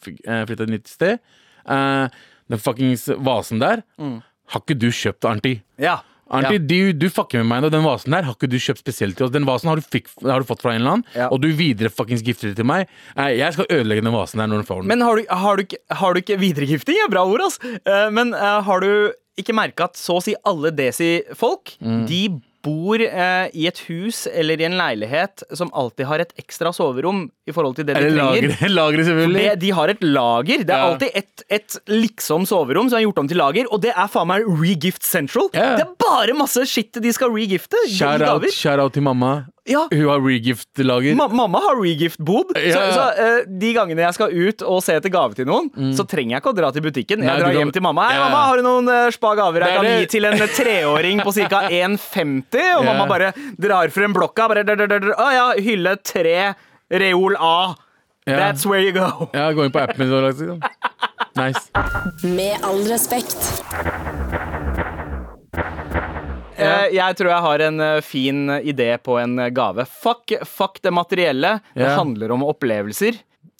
C: fikk, eh, flytta et nytt sted eh, Den fuckings vasen der har ikke du kjøpt, Arnti.
B: Ja.
C: Arnti,
B: Mm. Ja.
C: du, du fucker med meg nå. Den vasen der har ikke du kjøpt spesielt til oss. Den vasen har du, fikk, har du fått fra en eller annen,
B: Ja.
C: og du videre fuckings gifter det til meg. Eh, jeg skal ødelegge den vasen der når du får den.
B: Men har du, har du, ikke- har du ikke Videregifting er bra ord, ass. Eh, men eh, har du ikke merka at så å si alle desi-folk,
C: Mm.
B: de bor eh, i et hus eller i en leilighet som alltid har et ekstra soverom i forhold til det de
C: Eller
B: trenger.
C: lagre, lagre selvfølgelig.
B: Det, de har et lager. Det er
C: Ja.
B: alltid et, et liksom soverom som er gjort om til lager, og det er faen meg Regift Central.
C: Ja.
B: Det er bare masse shit de skal regifte. gi
C: Shout-out
B: gaver.
C: shout-out til mamma.
B: Ja.
C: Hun har regift-lager.
B: Ma mamma har regift-bob, så,
C: Ja.
B: så eh, de gangene jeg skal ut og se etter gave til noen, så trenger jeg ikke å dra til butikken. Jeg
C: Mm. Nei, du
B: drar
C: kan-
B: hjem til mamma. Hei,
C: Ja.
B: mamma, har du noen eh, spa gaver
C: Det
B: jeg
C: er
B: kan gi
C: det-
B: til en treåring på ca. 1,50? Og
C: Ja.
B: mamma bare drar frem blokka. Bare, dr, dr, dr, dr. Å ja, hylle tre, reol A.
C: Ja.
B: That's where you go.
C: Ja, gå inn på appen min. og lag- liksom. Nice.
A: Med all respekt.
B: Eh, Jeg tror jeg har en eh, fin idé på en eh, gave. Fuck, fuck det materielle. Det
C: Ja.
B: handler om opplevelser.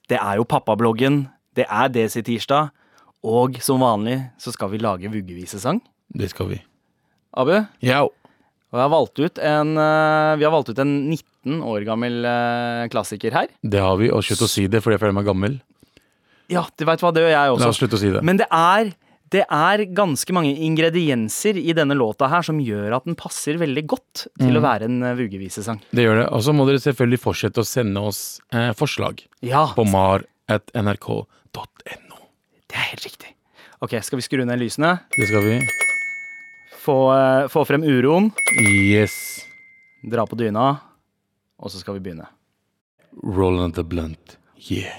B: Det er jo pappabloggen. Det er Desi Tirsdag. Og som vanlig så skal vi lage vuggevisesang.
C: Det skal vi.
B: Abu, og
C: Ja.
B: jeg har valgt ut en, eh, vi har valgt ut en 19 år gammel eh, klassiker her.
C: Det har vi, og slutt å si det fordi jeg føler meg gammel.
B: Ja, du veit hva, det gjør jeg
C: La oss
B: også.
C: slutte å si det.
B: Men det er, det er ganske mange ingredienser i denne låta her som gjør at den passer veldig godt til
C: Mm.
B: å være en eh, vuggevisesang.
C: Det gjør det. Og så må dere selvfølgelig fortsette å sende oss eh, forslag
B: Ja.
C: på mar.nrk.no.
B: Det er helt riktig. Ok, Skal vi skru ned lysene?
C: Det skal vi.
B: Få, eh, få frem uroen,
C: Yes.
B: dra på dyna, og så skal vi begynne.
C: Roland the Blunt. Yeah.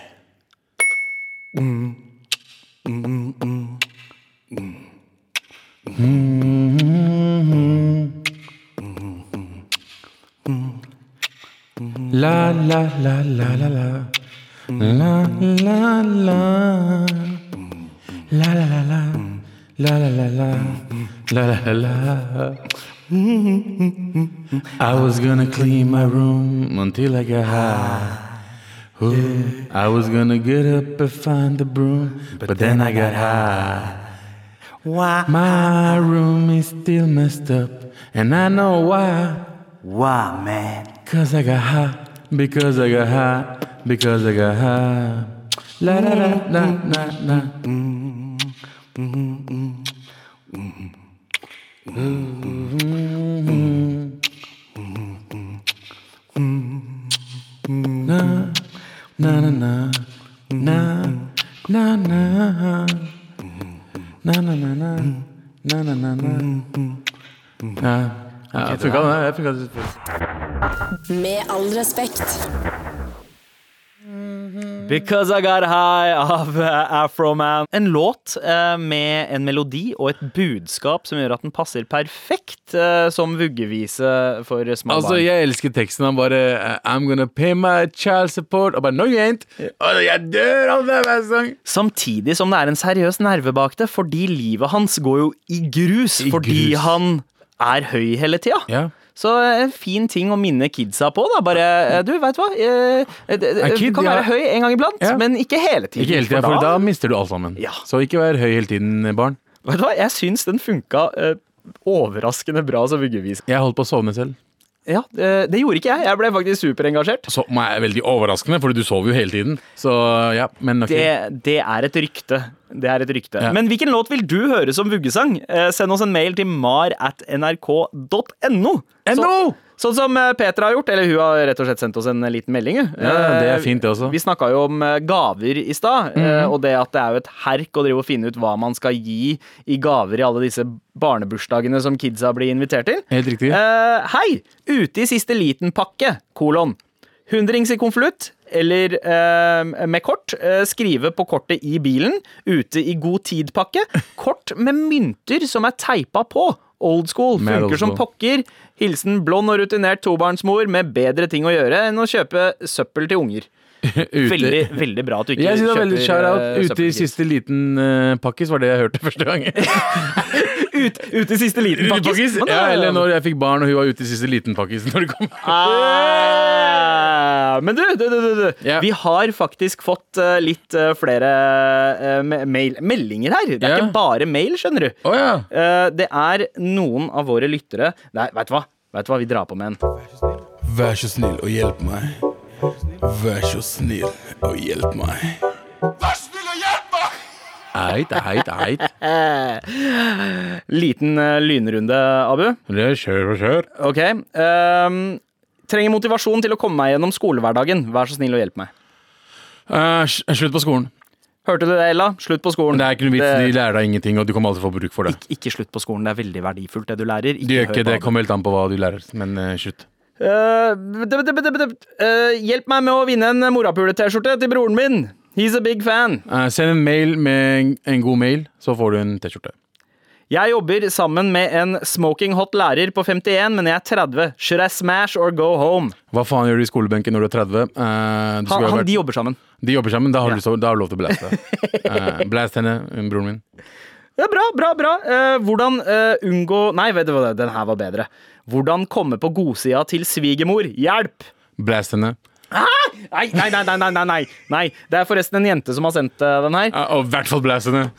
C: La la la la la la La la la La la la la La la la la La la la la I was gonna clean my room until I got high. Ooh, I was gonna get up and find the broom, but then I got high. Why? My room is still messed up, and I know why.
B: Wow, man.
C: Cause I got high, because I got high, because I got high. La la la la la la. Na na na na na na na na na na na na na na. Ja, ja, funka det? Jeg funka det.
A: Med all respekt.
B: Because I Got High av eh, Afroman. En låt eh, med en melodi og et budskap som gjør at den passer perfekt eh, som vuggevise for små
C: Altså,
B: barn.
C: jeg elsker teksten. Han bare eh, I'm gonna pay my child support. Og bare No, you ain't. Og jeg dør av det hver sang.
B: Samtidig som det er en seriøs nerve bak det, fordi livet hans går jo i grus
C: I
B: fordi
C: grus.
B: han er høy hele tida.
C: Ja.
B: Så eh, en fin ting å minne kidsa på, da. Bare eh, Du, veit hva. eh, eh, det-
C: Er
B: det- Du
C: kid,
B: kan
C: ja.
B: være høy en gang iblant,
C: Ja.
B: men ikke hele tiden.
C: Ikke hele tida, for da mister du alt sammen.
B: Ja.
C: Så ikke vær høy hele tiden, barn.
B: Vet du hva, jeg syns den funka eh, overraskende bra som vuggevis.
C: Jeg holdt på å sovne selv.
B: Ja, eh, det, det gjorde ikke jeg. Jeg ble faktisk superengasjert.
C: Som er veldig overraskende, fordi du sover jo hele tiden. Så ja, men ok.
B: Det, det er et rykte. Det er et rykte.
C: Ja.
B: Men hvilken låt vil du høre som vuggesang? Eh, send oss en mail til mar at nrk.no.
C: NO!
B: Sånn som eh, Petra har gjort, eller hun har rett og slett sendt oss en liten melding. hun.
C: Ja, det er
B: Eh,
C: fint det også.
B: Vi snakka jo om eh, gaver i stad, eh,
C: Mhm.
B: og det at det er jo et herk å drive og finne ut hva man skal gi i gaver i alle disse barnebursdagene som kidsa blir invitert til.
C: Helt riktig.
B: Eh, hei! Ute i siste liten-pakke, kolon. Hundrings i konvolutt eller eh, med kort. eh, skrive på kortet i bilen. Ute i god tid-pakke. Kort med mynter som er teipa på. Old school
C: Mer
B: funker
C: old
B: som
C: school.
B: pokker. Hilsen blond og rutinert tobarnsmor med bedre ting å gjøre enn å kjøpe søppel til unger.
C: Ute-
B: Veldig, veldig bra at du ikke
C: Jeg synes det er
B: kjøper
C: veldig shout-out.
B: eh,
C: Ute i
B: søppelkit.
C: siste liten eh, pakkis var det jeg hørte første gang.
B: Ut, ute i siste liten pakkis.
C: Pakkis? Ja, eller når jeg fikk barn og hun var ute i siste liten pakkis. Når det kom.
B: Ah, Men du, du, du, du, du.
C: Ja.
B: vi har faktisk fått eh, litt eh, flere eh, me- mail, meldinger her. Det er
C: Ja.
B: ikke bare mail, skjønner du.
C: Å ja.
B: Eh, det er noen av våre lyttere Nei, vet du hva? Vet du hva, vi drar på med en.
F: Vær så snill og hjelp meg. Vær så snill og hjelp meg.
C: Eit, eit, eit.
B: eh, Liten eh, lynrunde, Abu.
C: Det er Kjør og kjør.
B: Ok. ehm, trenger motivasjon til å komme meg gjennom skolehverdagen. Vær så snill og hjelp meg.
C: Eh, sl- slutt på skolen.
B: Hørte du det, Ella? Slutt på skolen.
C: Det er ikke noe vits, de
B: Det-
C: lærer deg ingenting, og du kommer alltid få bruk for det.
B: Ikke slutt på skolen. Det er veldig verdifullt, det du lærer. Ikke
C: Du gjør
B: hør
C: ikke
B: på
C: det,
B: Abu.
C: kommer helt an på hva du lærer, men eh, slutt.
B: Eh, d- d- d- d- d- eh, hjelp meg med å vinne en morapule-T-skjorte til broren min. He's a big fan.
C: Eh, send en mail med en, en god mail, så får du en T-skjorte.
B: Jeg jobber sammen med en smoking hot lærer på 51, men jeg er 30. Should I smash or go home?
C: Hva faen gjør du i skolebenken når du er 30? Eh, du
B: Han,
C: skulle ha
B: han, de
C: vært,
B: jobber sammen.
C: de jobber sammen, da har, du, så- da har du lov til å blaste. Eh, blast henne, broren min.
B: Det er bra, bra, bra. Eh, hvordan eh, unngå Nei, vet du hva, den her var bedre. Hvordan komme på godsida til svigermor? Hjelp!
C: Blast henne.
B: Nei, nei, nei, nei, nei, nei, nei. nei. Det er forresten en jente som har sendt eh, den her.
C: Ja, og i hvert fall blæs henne.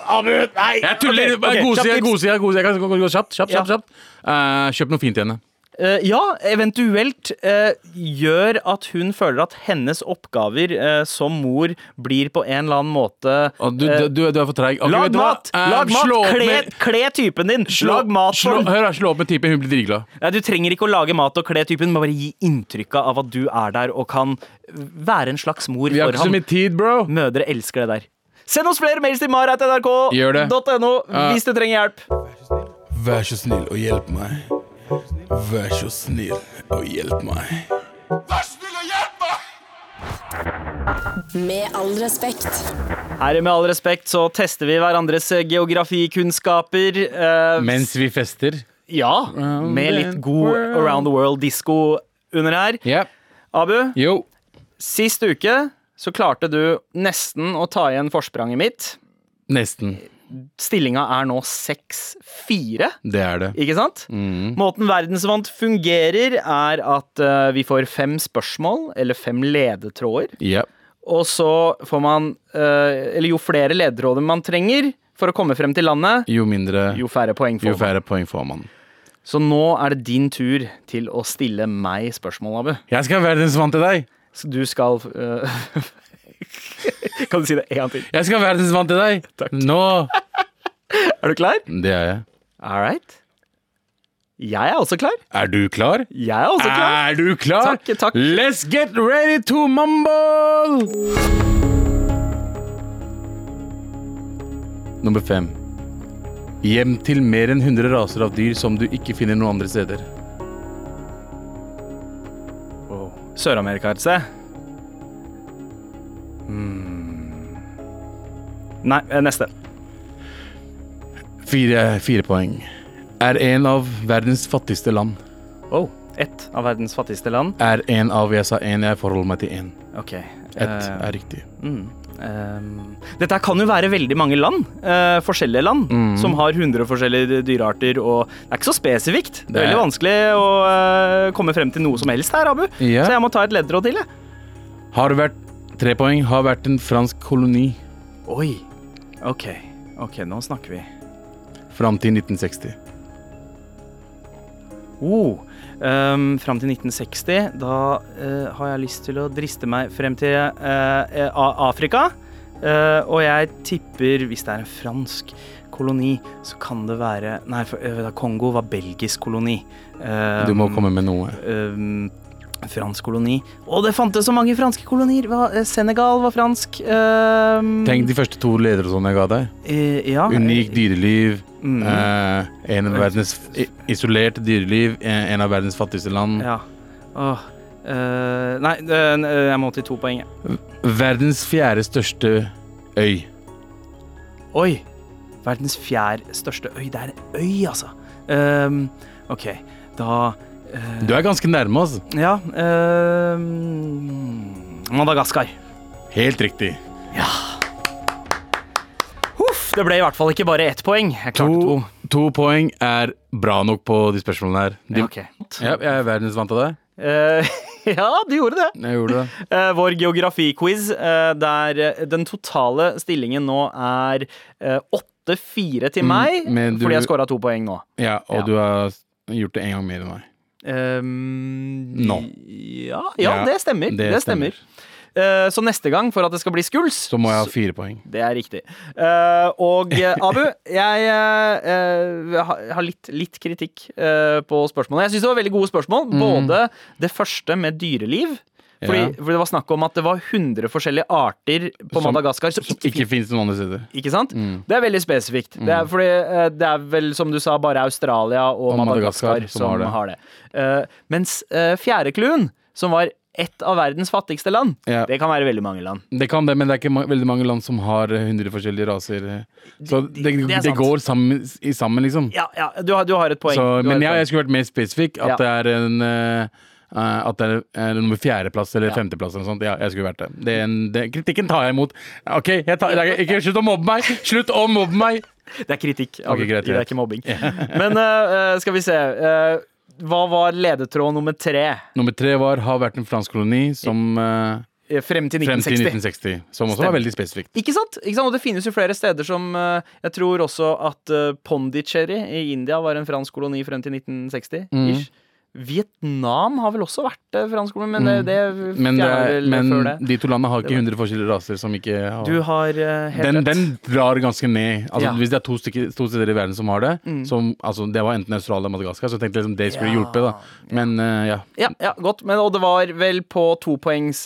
C: Jeg tuller!
B: Ok, ok,
C: Okay, okay,
B: kjapt
C: Godsida,
B: tips.
C: godsida, godsida. Jeg kan gå- gå Kjapt, kjapt,
B: Ja.
C: kjapt. kjapt. Eh, kjøp noe fint til henne.
B: Eh, ja, eventuelt eh, gjør at hun føler at hennes oppgaver eh, som mor blir på en eller annen måte
C: Og du,
B: eh,
C: du, du, er for treig. Ok, vet
B: Lag
C: du hva?
B: mat!
C: Eh,
B: Lag
C: slå
B: mat!
C: opp
B: Kle,
C: med-
B: kle typen din! Lag mat for
C: slå,
B: den!
C: hør, her, slå opp med typen, hun blir dritglad.
B: Ja, du trenger ikke å lage mat og kle typen, men bare gi inntrykket av at du er der og kan være en slags mor
C: Vi har
B: for
C: ikke så
B: ham.
C: mye tid, bro.
B: Mødre elsker det der. Send oss flere mails til
C: Gjør det.
B: mar.nrk.no
C: Ja.
B: hvis du trenger hjelp.
F: Vær så snill og hjelp meg. Vær så snill og hjelp meg.
A: Med all respekt.
B: Her med all respekt så tester vi hverandres eh, geografikunnskaper. eh,
C: Mens vi fester.
B: Ja,
C: Around
B: med litt
C: the
B: god
C: world.
B: Around the World-disko under her.
C: Ja.
B: Abu,
C: Jo.
B: sist uke så klarte du nesten å ta igjen forspranget mitt.
C: Nesten.
B: Stillinga er nå 6-4,
C: Det er det.
B: ikke sant?
C: Mm.
B: Måten verdensvant fungerer, er at eh, vi får fem spørsmål, eller fem ledetråder.
C: Ja.
B: Og så får man eh, Eller jo flere ledetråder man trenger for å komme frem til landet,
C: Jo mindre,
B: jo færre poeng
C: jo
B: får man.
C: færre poeng får man.
B: Så nå er det din tur til å stille meg spørsmål, Abu.
C: Jeg skal være verdensvant til deg.
B: Så du skal øh, Kan du si det en gang til?
C: Jeg skal være verdensvant til deg. Nå.
B: Er du klar?
C: Det er jeg.
B: All right. Jeg er også klar.
C: Er du klar?
B: Jeg er også klar.
C: Er du klar?
B: Takk, takk.
C: Let's get ready to mumble! Nummer fem. Hjem til mer enn 100 raser av dyr som du ikke finner noen andre steder.
B: Sør-Amerika, se. Hmm. Nei, eh, neste.
C: Fire, fire poeng. Er en av verdens fattigste land.
B: Oh, ett av verdens fattigste land.
C: Er en av Jeg sa én, jeg forholder meg til én.
B: Ok.
C: Ett
B: eh,
C: er riktig.
B: Ehm, Dette her kan jo være veldig mange land, eh, forskjellige land, som har 100 forskjellige dyrearter, og det er ikke så spesifikt. Det er
C: Det er-
B: veldig vanskelig å eh, komme frem til noe som helst her, Abu.
C: Ja.
B: Så jeg må ta et leddråd til, jeg.
C: Har vært tre poeng. Har vært en fransk koloni
B: Oi. Ok, ok, nå snakker vi.
C: fram til 1960.
B: Oh, ehm, fram til 1960. Da eh, har jeg lyst til å driste meg frem til eh, eh, A- Afrika. Eh, og jeg tipper, hvis det er en fransk koloni, så kan det være Nei, for, eh, Kongo var belgisk koloni. Eh,
C: Du må komme med noe.
B: ehm, fransk koloni. Å, det fantes så mange franske kolonier! Hva- eh, Senegal var fransk. ehm,
C: Tenk de første to ledere og sånn jeg ga deg.
B: eh, ja.
C: Unikt dyreliv.
B: Mm.
C: eh, en av verdens i- isolert dyreliv. eh, En av verdens fattigste land.
B: Ja. Åh. eh, nei, eh, jeg må til to poeng. jeg.
C: Verdens fjerde største øy.
B: Eh. Oi! Verdens fjerde største øy. Det er en øy, altså. Ehm, OK, da eh,
C: Du er ganske nærme, altså.
B: Ja. ehm, Madagaskar.
C: Helt riktig.
B: Huff, det ble i hvert fall ikke bare ett poeng. Jeg klarte to.
C: To, to poeng er bra nok på de spørsmålene her. De,
B: Ja,
C: ja,
B: ok.
C: jeg er verdensvant av deg.
B: Eh, ja, du gjorde det.
C: Jeg gjorde det.
B: Eh, vår geografiquiz, eh, der eh, den totale stillingen nå er eh, 8-4 til meg,
C: Mm, men du-
B: fordi jeg scora to poeng nå.
C: Ja, og
B: Ja.
C: du har gjort det en gang mer enn meg.
B: Um,
C: Nå.
B: Ja, ja,
C: Ja,
B: det stemmer. Det,
C: det
B: stemmer. Eh, så neste gang, for at det skal bli skuls
C: Så må jeg ha fire poeng.
B: Det er riktig. Eh, og eh, Abu, jeg eh, eh, ha- har litt, litt kritikk eh, på spørsmålene. Jeg syns det var veldig gode spørsmål. Både det første med dyreliv. Fordi,
C: Mm. Ja.
B: fordi det var snakk om at det var 100 forskjellige arter på
C: Som-
B: Madagaskar. Som,
C: Som ikke fins noen andre steder.
B: ikke sant?
C: Mm.
B: Det er veldig spesifikt. Det, er fordi, eh, det er vel, som du sa, bare Australia og,
C: Og
B: Madagaskar, som,
C: Madagaskar
B: har det. Eh, mens eh, fjerde cluen, som var ett av verdens fattigste land,
C: Ja.
B: det kan være veldig mange land.
C: Det kan det, men det er ikke ma veldig mange land som har eh, 100 forskjellige raser. eh. Så det, det,
B: det er sant.
C: går sammen, i sammen liksom.
B: Ja, ja, du har, du har et poeng.
C: Så,
B: Du har et
C: men ja, jeg
B: poeng.
C: skulle vært mer spesifikk.
B: Ja.
C: At det er en eh, eh, at det er nummer fjerdeplass eller femteplass eller noe sånt. Ja, jeg skulle vært det. det, er en, det kritikken tar jeg imot. OK, jeg tar, det er ikke, slutt å mobbe meg! Slutt å mobbe meg!
B: Det er kritikk. Abu.
C: Ok, greit,
B: det er
C: greit.
B: ikke mobbing. Men eh, eh, skal vi se. eh, hva var ledetråd nummer tre
C: Nummer tre var har vært en fransk koloni som eh,
B: eh, frem til
C: Frem
B: 1960?
C: til 1960, som også var
B: Stemmer.
C: veldig spesifikt.
B: Ikke sant? ikke sant? Og det finnes jo flere steder som eh, Jeg tror også at eh, Pondicherry i India var en fransk koloni frem til
C: Mm.
B: 1960-ish. Vietnam har vel også vært eh, fransk koloni, men det, det
C: Mm. Men, det,
B: fjerner vel
C: men
B: før det.
C: de to landene har
B: Det
C: ikke
B: var-
C: 100 forskjellige raser som ikke har
B: Du har eh, helt
C: den,
B: rett.
C: den drar ganske ned. Altså,
B: Ja. Mm.
C: Hvis det er to, stykker, to steder i verden som har det, som, altså, det var enten Australia eller Madagaskar, så jeg tenkte liksom, det skulle
B: Ja,
C: hjulpet. da Men eh, ja.
B: Ja, ja, godt. Men, og det var vel på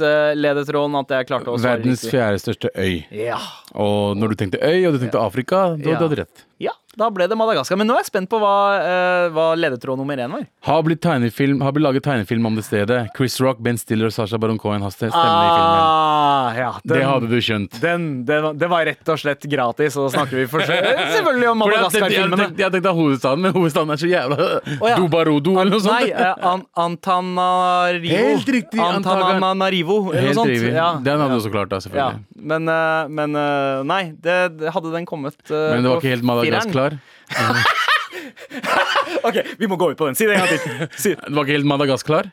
B: topoengsledetråden at jeg klarte å svare
C: Verdens
B: riktig.
C: fjerde største øy.
B: Ja.
C: Og når du tenkte øy, og du tenkte Afrika, da
B: Ja.
C: du hadde rett.
B: ja, da ble det Madagaskar. Men nå er jeg spent på hva, eh, hva ledetråd nummer én var.
C: Har blitt, tegnefilm, har blitt laget tegnefilm om det stedet. Chris Rock, Ben Stiller og Sasha Baron Cohen har stemmene i filmen.
B: Ah, ja,
C: Det
B: den-
C: hadde du skjønt.
B: Den, det, var, det var rett og slett gratis, og da snakker vi for selv- selvfølgelig om
C: Fordi jeg tenkte- jeg
B: Madagaskar-filmene.
C: tenkte- Jeg tenkte hovedstaden, men hovedstaden er så jævla
B: Å ja.
C: Dubarodo eller noe sånt.
B: Nei, eh, an Antananarivo.
C: Helt riktig,
B: Antananarivo, eller
C: Helt
B: noe sånt.
C: riktig.
B: Ja.
C: Den hadde du også klart, da,
B: ja.
C: selvfølgelig.
B: Men, eh, men eh, nei, det, det hadde den kommet eh,
C: Men det var
B: på
C: ikke helt
B: fireren.
C: Madagaskar.
B: Ok, vi må gå ut på den. Si det en gang til. Si.
C: Det var ikke helt Madagaskar.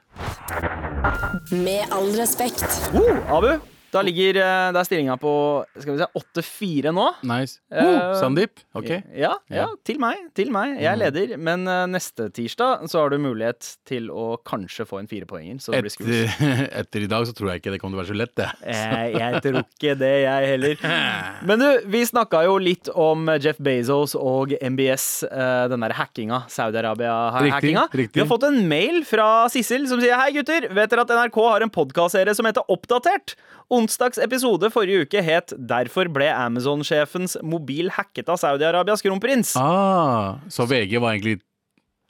A: Med all respekt.
B: Oh, Abu, da ligger eh, der stillinga på skal vi se, 8-4 nå.
C: Nice.
B: Eh,
C: Oh, Sandeep. Ok. Mm.
B: Ja, ja, til meg. Til meg. Jeg leder. Men eh, neste tirsdag så har du mulighet til å kanskje få en firepoenger. Så det blir skummelt.
C: Etter, etter i dag så tror jeg ikke det kommer til å være så lett, det.
B: Eh, Jeg tror ikke det, jeg heller. Men du, vi snakka jo litt om Jeff Bezos og MBS, eh, den derre hackinga. Saudi-Arabia-hackinga.
C: Riktig, riktig.
B: Vi har fått en mail fra Sissel som sier Hei, gutter. Vet dere at NRK har en podkastserie som heter Oppdatert? Onsdags episode forrige uke het 'Derfor ble Amazon-sjefens mobil hacket av Saudi-Arabias kronprins'.
C: Ah, så VG var egentlig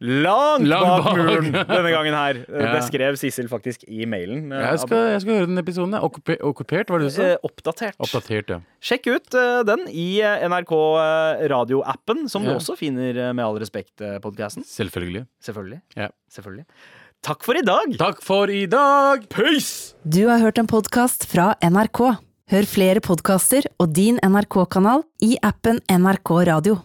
B: Langt,
C: Langt
B: bak
C: bak.
B: muren denne gangen her. Eh,
C: Ja.
B: Det skrev Sissel faktisk i mailen. eh,
C: Jeg skal, jeg skal høre den episoden. jeg. Okkupe- Okkupert, var det du sa?
B: eh, Oppdatert.
C: Oppdatert, ja.
B: Sjekk ut eh, den i eh, NRK eh, radioappen, som du
C: Ja.
B: også finner eh, med all respekt-podkasten.
C: Selvfølgelig.
B: Selvfølgelig.
C: Ja.
B: Selvfølgelig. Takk for i dag!
C: Takk for i dag! Peace!
G: Du har hørt en podkast fra NRK. Hør flere podkaster og din NRK-kanal i appen NRK Radio.